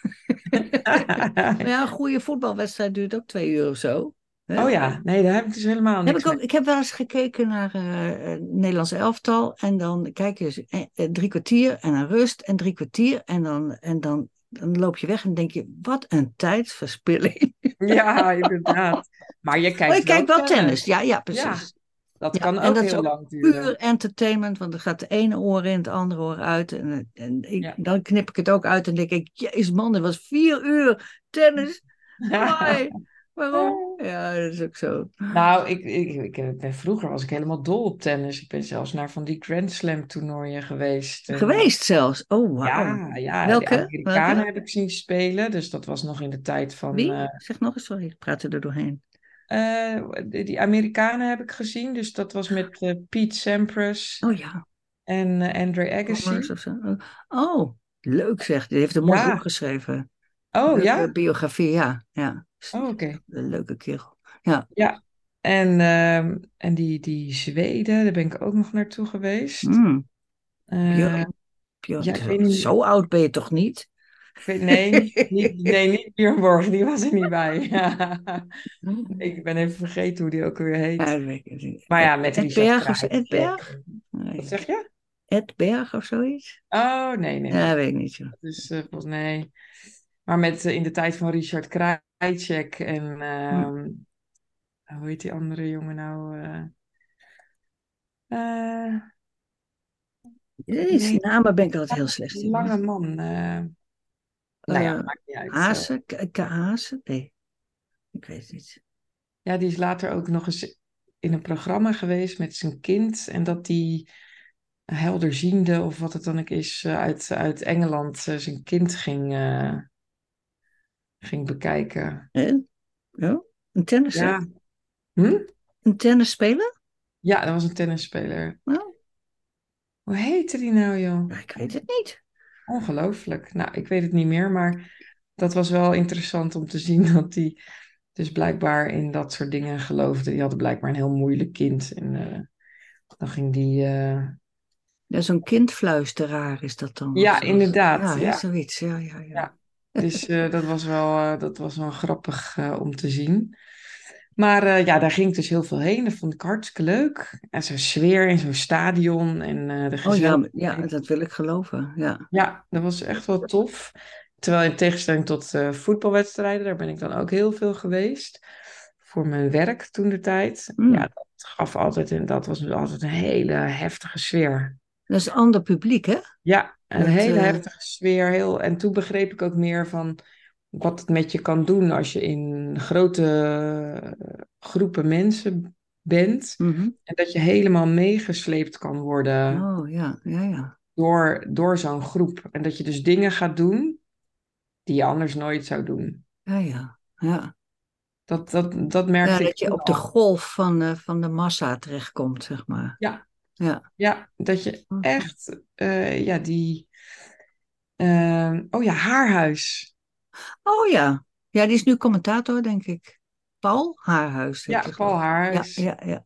[SPEAKER 2] Maar ja, een goede voetbalwedstrijd duurt ook twee uur of zo. Hè?
[SPEAKER 1] Oh ja, nee, daar heb ik dus helemaal
[SPEAKER 2] Heb
[SPEAKER 1] niks
[SPEAKER 2] ik, ook, ik heb wel eens gekeken naar eh eh, Nederlands elftal. En dan kijk je dus, eh, eh, drie kwartier en dan rust en drie kwartier. En, dan, en dan, dan loop je weg en denk je, wat een tijdsverspilling.
[SPEAKER 1] mee. Ja, inderdaad. Maar je kijkt
[SPEAKER 2] Maar ik kijk Oh, wel
[SPEAKER 1] tennis.
[SPEAKER 2] tennis. Ja, ja, precies.
[SPEAKER 1] Dat
[SPEAKER 2] Ja,
[SPEAKER 1] kan
[SPEAKER 2] en
[SPEAKER 1] ook
[SPEAKER 2] dat is
[SPEAKER 1] heel
[SPEAKER 2] ook
[SPEAKER 1] lang duren.
[SPEAKER 2] Puur entertainment, want dan gaat de ene oor in, het andere oor uit. En, en ik-
[SPEAKER 1] Ja.
[SPEAKER 2] dan knip ik het ook uit en denk ik, jezus man, dat was vier uur tennis. Amai. Waarom? Ja, dat is ook zo.
[SPEAKER 1] Nou, ik, ik, ik ben, vroeger was ik helemaal dol op tennis. Ik ben zelfs naar van die Grand Slam toernooien geweest. En-
[SPEAKER 2] Geweest zelfs. Oh, wauw.
[SPEAKER 1] Ja, ja de
[SPEAKER 2] Welke?
[SPEAKER 1] Amerikanen
[SPEAKER 2] Welke?
[SPEAKER 1] heb ik zien spelen. Dus dat was nog in de tijd van...
[SPEAKER 2] Wie?
[SPEAKER 1] eh,
[SPEAKER 2] Zeg nog eens, sorry, ik praat er doorheen.
[SPEAKER 1] eh, die- die Amerikanen heb ik gezien. Dus dat was met eh, Pete Sampras
[SPEAKER 2] Oh ja,
[SPEAKER 1] en eh, Andre
[SPEAKER 2] Commerce
[SPEAKER 1] Agassi.
[SPEAKER 2] of zo. Oh, leuk zeg. Die heeft een mooi
[SPEAKER 1] Ja.
[SPEAKER 2] boek geschreven.
[SPEAKER 1] Oh
[SPEAKER 2] Leuke
[SPEAKER 1] ja?
[SPEAKER 2] biografie, ja. ja.
[SPEAKER 1] Oh, oké.
[SPEAKER 2] Een leuke kerel.
[SPEAKER 1] En, ehm, en die, die Zweden, daar ben ik ook nog naartoe geweest.
[SPEAKER 2] Mm.
[SPEAKER 1] Eh,
[SPEAKER 2] Björn- Björn,
[SPEAKER 1] ja, ik weet niet-
[SPEAKER 2] zo oud ben je toch niet?
[SPEAKER 1] ik weet- nee, niet, nee, niet Björn Borg, die was er niet bij. ik ben even vergeten hoe die ook weer heet.
[SPEAKER 2] Ja, dat weet ik niet.
[SPEAKER 1] maar ja, met
[SPEAKER 2] Ed
[SPEAKER 1] Richard
[SPEAKER 2] Berg of-
[SPEAKER 1] Pryce.
[SPEAKER 2] Ed Berg?
[SPEAKER 1] Wat
[SPEAKER 2] Nee.
[SPEAKER 1] zeg je?
[SPEAKER 2] Ed Berg of zoiets?
[SPEAKER 1] Oh, nee, nee.
[SPEAKER 2] Ja, dat weet ik niet. joh.
[SPEAKER 1] Dus eh, volgens nee. Maar met eh, in de tijd van Richard Krajcek en
[SPEAKER 2] Hm.
[SPEAKER 1] ehm, hoe heet die andere jongen nou? eh eh,
[SPEAKER 2] Deze
[SPEAKER 1] Nee.
[SPEAKER 2] namen ben ik altijd heel slecht
[SPEAKER 1] die
[SPEAKER 2] in.
[SPEAKER 1] lange
[SPEAKER 2] hoor.
[SPEAKER 1] man. eh
[SPEAKER 2] Oh,
[SPEAKER 1] nou ja,
[SPEAKER 2] Eh,
[SPEAKER 1] maakt niet uit.
[SPEAKER 2] Hazen? K- K- Hazen? Nee. Ik weet het niet.
[SPEAKER 1] Ja, die is later ook nog eens in een programma geweest met zijn kind. En dat die helderziende, of wat het dan ook is, eh, uit, uit Engeland eh, zijn kind ging, eh, ging bekijken.
[SPEAKER 2] Hè? Eh? Ja? Een tennis?
[SPEAKER 1] Ja. Hm?
[SPEAKER 2] Een tennisspeler?
[SPEAKER 1] Ja, dat was een tennisspeler.
[SPEAKER 2] Oh.
[SPEAKER 1] Hoe heette die nou, joh?
[SPEAKER 2] Nou, ik weet het niet.
[SPEAKER 1] Ongelooflijk. Nou, ik weet het niet meer, maar dat was wel interessant om te zien dat die dus blijkbaar in dat soort dingen geloofde. Die hadden blijkbaar een heel moeilijk kind. En eh, dan ging die. eh,
[SPEAKER 2] Ja, zo'n kindfluisteraar is dat dan.
[SPEAKER 1] Ja,
[SPEAKER 2] Of zo.
[SPEAKER 1] inderdaad,
[SPEAKER 2] Ja, hè,
[SPEAKER 1] ja.
[SPEAKER 2] zoiets. Ja, ja, ja.
[SPEAKER 1] Ja. Dus eh, dat, was wel, eh, dat was wel grappig eh, om te zien. Maar eh, ja, daar ging ik dus heel veel heen. Dat vond ik hartstikke leuk. En zo'n sfeer in zo'n stadion en eh de
[SPEAKER 2] Oh ja,
[SPEAKER 1] gezelligheid.
[SPEAKER 2] maar- ja, dat wil ik geloven. Ja.
[SPEAKER 1] Ja, dat was echt wel tof. Terwijl in tegenstelling tot eh, voetbalwedstrijden, daar ben ik dan ook heel veel geweest. Voor mijn werk toen de tijd.
[SPEAKER 2] Mm.
[SPEAKER 1] Ja, dat gaf altijd en dat was altijd een hele heftige sfeer.
[SPEAKER 2] Dat is een ander publiek, hè?
[SPEAKER 1] Ja, een
[SPEAKER 2] Dat,
[SPEAKER 1] hele
[SPEAKER 2] eh,
[SPEAKER 1] heftige sfeer. Heel, en toen begreep ik ook meer van wat het met je kan doen als je in grote eh, groepen mensen bent.
[SPEAKER 2] Mhm.
[SPEAKER 1] En dat je helemaal meegesleept kan worden
[SPEAKER 2] Oh ja, ja, ja.
[SPEAKER 1] door, door zo'n groep. En dat je dus dingen gaat doen die je anders nooit zou doen.
[SPEAKER 2] Ja, ja. Ja,
[SPEAKER 1] Dat, dat, dat
[SPEAKER 2] ja
[SPEAKER 1] merkte ik.
[SPEAKER 2] dat je
[SPEAKER 1] toen
[SPEAKER 2] op de
[SPEAKER 1] al.
[SPEAKER 2] golf van, eh, van de massa terechtkomt, zeg maar.
[SPEAKER 1] Ja, dat je
[SPEAKER 2] Mhm.
[SPEAKER 1] echt, eh, ja, die. eh, oh ja, haarhuis.
[SPEAKER 2] Oh ja. Ja, die is nu commentator, denk ik. Paul Haarhuis. heet
[SPEAKER 1] Ja,
[SPEAKER 2] die,
[SPEAKER 1] Paul
[SPEAKER 2] geloof ik.
[SPEAKER 1] Haarhuis.
[SPEAKER 2] Ja, ja, ja.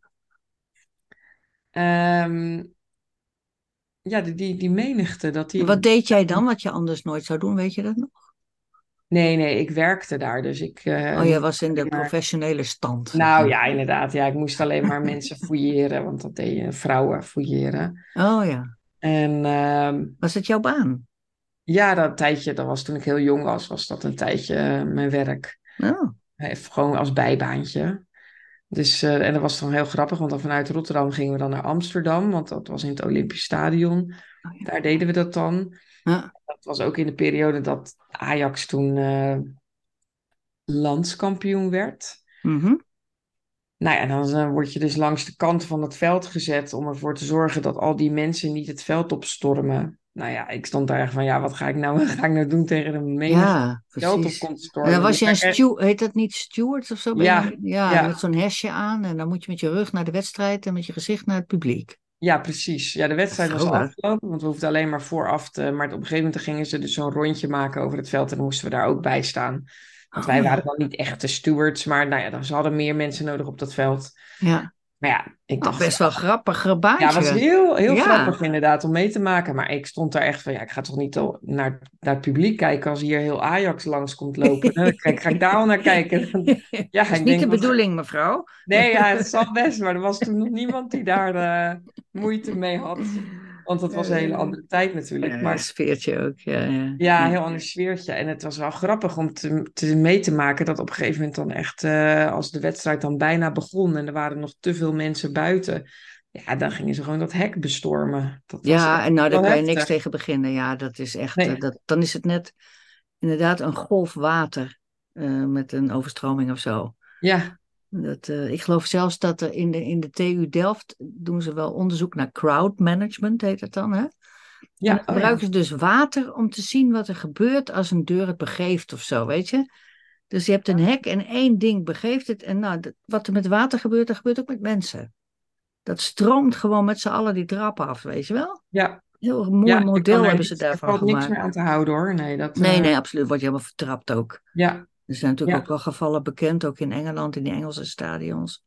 [SPEAKER 1] Ehm, ja, die, die, die menigte. Dat die...
[SPEAKER 2] Wat deed jij dan wat je anders nooit zou doen, weet je dat nog?
[SPEAKER 1] Nee, nee, ik werkte daar. Dus ik. eh,
[SPEAKER 2] Oh, jij was in de
[SPEAKER 1] maar-
[SPEAKER 2] professionele stand. zeg
[SPEAKER 1] Nou
[SPEAKER 2] maar.
[SPEAKER 1] ja, inderdaad. Ja, ik moest alleen maar mensen fouilleren, want dat deed je, vrouwen fouilleren.
[SPEAKER 2] Oh ja.
[SPEAKER 1] En ehm,
[SPEAKER 2] Was het jouw baan?
[SPEAKER 1] Ja, dat tijdje, dat was toen ik heel jong was, was dat een tijdje eh, mijn werk.
[SPEAKER 2] Oh,
[SPEAKER 1] Even gewoon als bijbaantje. Dus, eh, en dat was dan heel grappig, want dan vanuit Rotterdam gingen we dan naar Amsterdam, want dat was in het Olympisch Stadion.
[SPEAKER 2] Oh ja.
[SPEAKER 1] Daar deden we dat dan.
[SPEAKER 2] Ja.
[SPEAKER 1] Dat was ook in de periode dat Ajax toen eh, landskampioen werd.
[SPEAKER 2] Mhm.
[SPEAKER 1] Nou ja, dan eh, word je dus langs de kant van het veld gezet om ervoor te zorgen dat al die mensen niet het veld opstormen. Nou ja, ik stond daar echt van, ja, wat ga ik nou, wat ga ik nou doen tegen de menigte?
[SPEAKER 2] ja
[SPEAKER 1] geld op
[SPEAKER 2] precies.
[SPEAKER 1] kon
[SPEAKER 2] En
[SPEAKER 1] stormen.
[SPEAKER 2] dan was
[SPEAKER 1] Dus
[SPEAKER 2] je een
[SPEAKER 1] daar kreeg-
[SPEAKER 2] steward, heet dat niet steward of zo? Ben je
[SPEAKER 1] Ja,
[SPEAKER 2] dan- ja,
[SPEAKER 1] ja.
[SPEAKER 2] met zo'n hesje aan en dan moet je met je rug naar de wedstrijd en met je gezicht naar het publiek.
[SPEAKER 1] Ja, precies. Ja, de wedstrijd was al
[SPEAKER 2] Geweldig.
[SPEAKER 1] afgelopen, want we hoefden alleen maar vooraf te... Maar op een gegeven moment gingen ze dus zo'n rondje maken over het veld en dan moesten we daar ook bij staan. Want
[SPEAKER 2] Oh,
[SPEAKER 1] wij
[SPEAKER 2] ja.
[SPEAKER 1] waren dan niet echt de stewards, maar nou ja, dan, ze hadden meer mensen nodig op dat veld.
[SPEAKER 2] Ja,
[SPEAKER 1] Maar ja, ik
[SPEAKER 2] oh,
[SPEAKER 1] dacht...
[SPEAKER 2] best wel grappig baantje.
[SPEAKER 1] ja, het was heel, heel
[SPEAKER 2] Ja.
[SPEAKER 1] grappig inderdaad om mee te maken. Maar ik stond daar echt van, ja, ik ga toch niet al naar, naar het publiek kijken als hier heel Ajax langs komt lopen. Dan ga ik- ga ik daar al naar kijken. Ja,
[SPEAKER 2] Dat is
[SPEAKER 1] ik
[SPEAKER 2] niet
[SPEAKER 1] denk,
[SPEAKER 2] de
[SPEAKER 1] wat-
[SPEAKER 2] bedoeling, mevrouw.
[SPEAKER 1] Nee, ja, het zal best, maar er was toen nog niemand die daar eh, moeite mee had. Want dat was een hele andere tijd natuurlijk.
[SPEAKER 2] Ja, een
[SPEAKER 1] Maar
[SPEAKER 2] sfeertje ook. Ja, ja.
[SPEAKER 1] ja, een heel ander sfeertje. En het was wel grappig om te, te mee te maken dat op een gegeven moment dan echt, eh, als de wedstrijd dan bijna begon en er waren nog te veel mensen buiten, ja, dan gingen ze gewoon dat hek bestormen. Dat was
[SPEAKER 2] Ja,
[SPEAKER 1] echt
[SPEAKER 2] en nou, daar
[SPEAKER 1] wel
[SPEAKER 2] kan je niks
[SPEAKER 1] heftig.
[SPEAKER 2] tegen beginnen. Ja, dat is echt.
[SPEAKER 1] Nee.
[SPEAKER 2] eh, dat, dan is het net inderdaad een golf water eh, met een overstroming of zo.
[SPEAKER 1] Ja,
[SPEAKER 2] Dat, eh, ik geloof zelfs dat er in de, in de TU Delft doen ze wel onderzoek naar crowd management, heet dat dan. Hè?
[SPEAKER 1] ja.
[SPEAKER 2] En
[SPEAKER 1] oh
[SPEAKER 2] dan gebruiken ze dus water om te zien wat er gebeurt als een deur het begeeft of zo, weet je. Dus je hebt een hek en één ding begeeft het. En nou, dat- wat er met water gebeurt, dat gebeurt ook met mensen. Dat stroomt gewoon met z'n allen die trap af, weet je wel.
[SPEAKER 1] ja. ja.
[SPEAKER 2] Heel mooi
[SPEAKER 1] Ja, je kan
[SPEAKER 2] model
[SPEAKER 1] er
[SPEAKER 2] hebben
[SPEAKER 1] niet-
[SPEAKER 2] ze
[SPEAKER 1] Er
[SPEAKER 2] daarvan
[SPEAKER 1] valt niks meer
[SPEAKER 2] gemaakt.
[SPEAKER 1] aan te houden hoor. Nee, dat,
[SPEAKER 2] Nee,
[SPEAKER 1] eh,
[SPEAKER 2] nee, absoluut. Wordt je helemaal vertrapt ook.
[SPEAKER 1] Ja,
[SPEAKER 2] Er zijn natuurlijk
[SPEAKER 1] Ja.
[SPEAKER 2] ook wel gevallen bekend, ook in Engeland, in die Engelse stadions.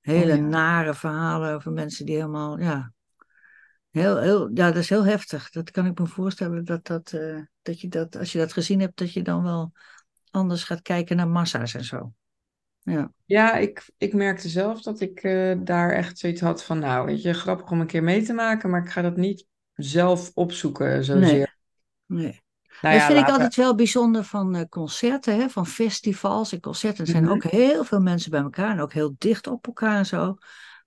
[SPEAKER 2] Hele
[SPEAKER 1] Oh, ja.
[SPEAKER 2] nare verhalen over mensen die helemaal, ja. Heel, heel, ja, dat is heel heftig. Dat kan ik me voorstellen, dat, dat, eh, dat je dat, als je dat gezien hebt, dat je dan wel anders gaat kijken naar massa's en zo.
[SPEAKER 1] ja ik, ik merkte zelf dat ik eh, daar echt zoiets had van, nou, weet je, grappig om een keer mee te maken, maar ik ga dat niet zelf opzoeken
[SPEAKER 2] Nee.
[SPEAKER 1] zozeer.
[SPEAKER 2] Nee.
[SPEAKER 1] Nou
[SPEAKER 2] dat vind ik
[SPEAKER 1] laten-
[SPEAKER 2] altijd wel bijzonder van eh, concerten, hè, van festivals en concerten. Er zijn
[SPEAKER 1] Mhm.
[SPEAKER 2] ook heel veel mensen bij elkaar en ook heel dicht op elkaar en zo.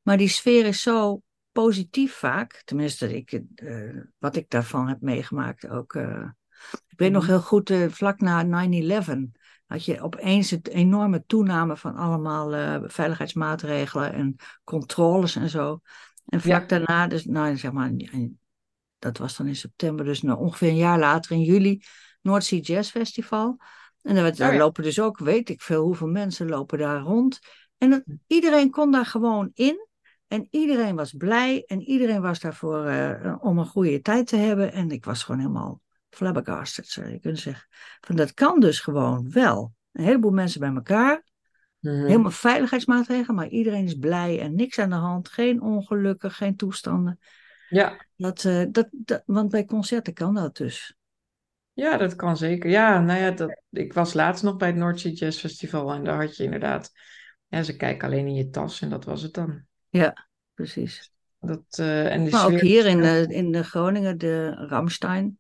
[SPEAKER 2] Maar die sfeer is zo positief vaak. Tenminste, ik, eh, wat ik daarvan heb meegemaakt ook. eh. ik weet nog
[SPEAKER 1] Mhm.
[SPEAKER 2] heel goed, eh, vlak na 9-11 had je opeens een enorme toename van allemaal eh, veiligheidsmaatregelen en controles en zo. En vlak daarna, dus, nou, zeg maar, dat was dan in september, dus nou, ongeveer een jaar later in juli, Noordzee Jazz Festival. En daar, werd- daar
[SPEAKER 1] Oh ja.
[SPEAKER 2] lopen dus ook, weet ik veel, hoeveel mensen lopen daar rond. En dat, iedereen kon daar gewoon in. En iedereen was blij en iedereen was daarvoor eh, om een goede tijd te hebben. En ik was gewoon helemaal flabbergasted, zou je kunnen zeggen. Van dat kan dus gewoon wel. Een heleboel mensen bij elkaar,
[SPEAKER 1] Mhm.
[SPEAKER 2] helemaal veiligheidsmaatregelen, maar iedereen is blij en niks aan de hand. Geen ongelukken, geen toestanden.
[SPEAKER 1] Ja.
[SPEAKER 2] Dat, eh, dat, dat, want bij concerten kan dat dus.
[SPEAKER 1] ja, dat kan zeker. Ja, nou ja, dat, ik was laatst nog bij het Noordzee Jazz Festival en daar had je inderdaad, ja, ze kijken alleen in je tas en dat was het dan.
[SPEAKER 2] Ja, precies.
[SPEAKER 1] Dat, eh, en de
[SPEAKER 2] Maar ook
[SPEAKER 1] sfeer-
[SPEAKER 2] hier in, eh in de Groningen, de Ramstein.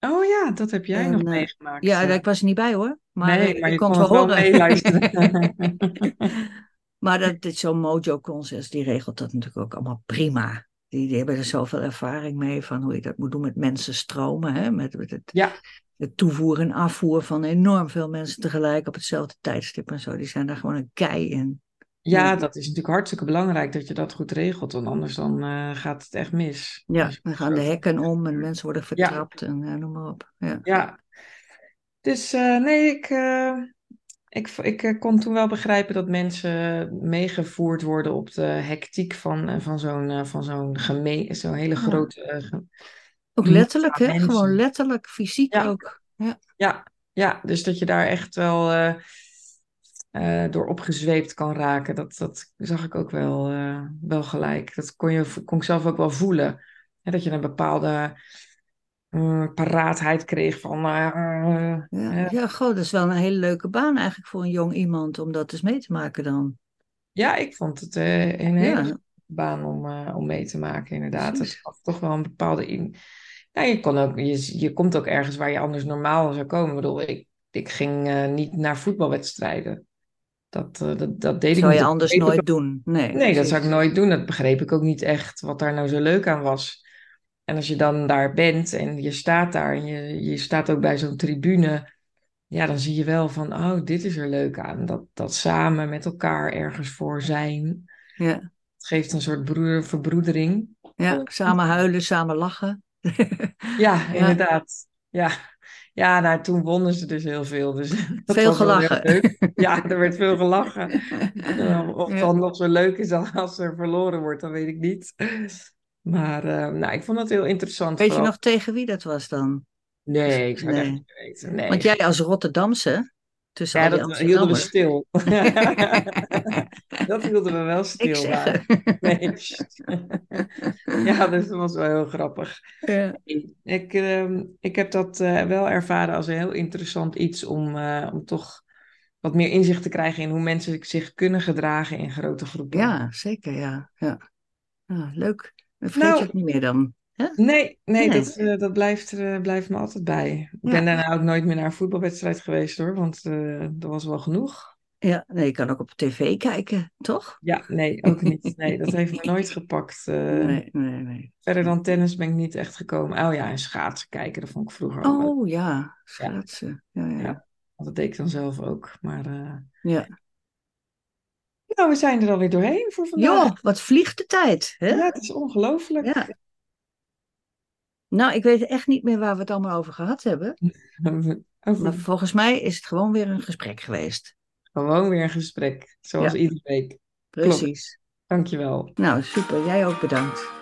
[SPEAKER 1] Oh ja, dat heb jij
[SPEAKER 2] En,
[SPEAKER 1] nog
[SPEAKER 2] eh,
[SPEAKER 1] meegemaakt.
[SPEAKER 2] Ja,
[SPEAKER 1] eh.
[SPEAKER 2] daar- ik was er niet bij hoor. Maar eh,
[SPEAKER 1] nee, maar
[SPEAKER 2] ik
[SPEAKER 1] je
[SPEAKER 2] kon
[SPEAKER 1] kon
[SPEAKER 2] het wel
[SPEAKER 1] het wel
[SPEAKER 2] horen.
[SPEAKER 1] meeluisteren.
[SPEAKER 2] Maar dat, dit, zo'n Mojo Concerts, die regelt dat natuurlijk ook allemaal prima. Die, die hebben er zoveel ervaring mee van hoe je dat moet doen met mensen stromen. Hè? Met, met het,
[SPEAKER 1] Ja.
[SPEAKER 2] het toevoer en afvoer van enorm veel mensen tegelijk op hetzelfde tijdstip en zo. Die zijn daar gewoon een kei in.
[SPEAKER 1] Ja,
[SPEAKER 2] Ja.
[SPEAKER 1] dat is natuurlijk hartstikke belangrijk dat je dat goed regelt, want anders dan eh, gaat het echt mis.
[SPEAKER 2] Ja,
[SPEAKER 1] Dus-
[SPEAKER 2] dan gaan de hekken om en mensen worden vertrapt en eh, noem maar op. Ja.
[SPEAKER 1] Ja, dus eh, nee, ik, eh, ik, ik eh, kon toen wel begrijpen dat mensen meegevoerd worden op de hectiek van, eh, van zo'n eh, van zo'n geme- zo'n hele
[SPEAKER 2] Ja.
[SPEAKER 1] grote... eh, ge-
[SPEAKER 2] Ook letterlijk,
[SPEAKER 1] Ja,
[SPEAKER 2] hè? Gewoon
[SPEAKER 1] mensen.
[SPEAKER 2] letterlijk, fysiek
[SPEAKER 1] Ja.
[SPEAKER 2] ook. Ja.
[SPEAKER 1] ja, ja, dus dat je daar echt wel eh, eh, door opgezweept kan raken, dat, dat zag ik ook wel, eh, wel gelijk. Dat kon, je, kon ik zelf ook wel voelen. Hè, dat je een bepaalde... eh, paraatheid kreeg van... eh, eh,
[SPEAKER 2] Ja.
[SPEAKER 1] eh.
[SPEAKER 2] ja, goh, dat is wel een hele leuke baan eigenlijk voor een jong iemand om dat eens mee te maken dan.
[SPEAKER 1] ja, ik vond het eh, een hele
[SPEAKER 2] Ja,
[SPEAKER 1] baan om, eh, om mee te maken, inderdaad. Het
[SPEAKER 2] precies.
[SPEAKER 1] gaf toch wel een bepaalde... In... Ja, je, kon ook, je, je komt ook ergens waar je anders normaal zou komen. Ik bedoel, ik, ik ging eh, niet naar voetbalwedstrijden. Dat, eh, dat, dat deed ik
[SPEAKER 2] Zou
[SPEAKER 1] niet.
[SPEAKER 2] je
[SPEAKER 1] Dat
[SPEAKER 2] anders
[SPEAKER 1] begreep ik
[SPEAKER 2] nooit doen? Nee,
[SPEAKER 1] Nee, dat zou ik
[SPEAKER 2] precies.
[SPEAKER 1] nooit doen. Dat begreep ik ook niet echt wat daar nou zo leuk aan was. En als je dan daar bent en je staat daar en je, je staat ook bij zo'n tribune, ja, dan zie je wel van, oh, dit is er leuk aan. Dat, dat samen met elkaar ergens voor zijn,
[SPEAKER 2] Ja,
[SPEAKER 1] het geeft een soort broer, verbroedering.
[SPEAKER 2] ja. samen huilen, samen lachen.
[SPEAKER 1] Ja,
[SPEAKER 2] Ja,
[SPEAKER 1] inderdaad. Ja, ja nou, toen wonnen ze dus heel veel. Dus dat
[SPEAKER 2] veel
[SPEAKER 1] was wel heel
[SPEAKER 2] gelachen.
[SPEAKER 1] leuk. Ja, er werd veel gelachen. Eh, Of het
[SPEAKER 2] Ja.
[SPEAKER 1] dan nog zo leuk is dan als er verloren wordt, dat weet ik niet. Maar eh, nou, ik vond dat heel interessant.
[SPEAKER 2] Weet je
[SPEAKER 1] Vooral...
[SPEAKER 2] nog tegen wie dat was dan?
[SPEAKER 1] Nee, ik zou het echt
[SPEAKER 2] Nee.
[SPEAKER 1] niet weten. Nee.
[SPEAKER 2] Want jij als Rotterdamse, tussen
[SPEAKER 1] Ja,
[SPEAKER 2] al die
[SPEAKER 1] dat eh, hielden we
[SPEAKER 2] Amsterdammers.
[SPEAKER 1] stil. dat hielden we wel
[SPEAKER 2] Ik
[SPEAKER 1] stil.
[SPEAKER 2] zeg.
[SPEAKER 1] Maar... Nee. sst. Ja, dus dat was wel heel grappig.
[SPEAKER 2] Ja.
[SPEAKER 1] Ik, ehm, ik heb dat eh, wel ervaren als een heel interessant iets om, eh, om toch wat meer inzicht te krijgen in hoe mensen zich kunnen gedragen in grote groepen.
[SPEAKER 2] Ja, zeker, ja. ja. ja leuk. Dan vergeet je
[SPEAKER 1] Nou,
[SPEAKER 2] het niet meer dan. Hè?
[SPEAKER 1] nee, nee,
[SPEAKER 2] Nee.
[SPEAKER 1] dat, eh, dat blijft, eh, blijft me altijd bij. Ik
[SPEAKER 2] Ja.
[SPEAKER 1] ben daarna ook nooit meer naar een voetbalwedstrijd geweest hoor, want eh dat was wel genoeg.
[SPEAKER 2] Ja, nee, je kan ook op tv kijken, toch?
[SPEAKER 1] Ja, nee, ook niet. Nee, dat heeft me nooit gepakt. eh.
[SPEAKER 2] Nee, nee, nee.
[SPEAKER 1] verder dan tennis ben ik niet echt gekomen. Oh ja, en schaatsen kijken, dat vond ik vroeger ook leuk.
[SPEAKER 2] Oh ja,
[SPEAKER 1] nou, Ja,
[SPEAKER 2] schaatsen. Ja, ja, ja.
[SPEAKER 1] ja. Want dat deed ik dan zelf ook. Maar eh,
[SPEAKER 2] Ja,
[SPEAKER 1] Nou, we zijn er alweer doorheen voor vandaag.
[SPEAKER 2] Joh, wat vliegt de tijd. Hè?
[SPEAKER 1] Ja, het is ongelooflijk.
[SPEAKER 2] Ja. Nou, ik weet echt niet meer waar we het allemaal over gehad hebben. Maar
[SPEAKER 1] Over-
[SPEAKER 2] volgens mij is het gewoon weer een gesprek geweest.
[SPEAKER 1] Gewoon weer een gesprek, zoals iedere week.
[SPEAKER 2] Precies.
[SPEAKER 1] Dankjewel.
[SPEAKER 2] Nou, super. Jij ook bedankt.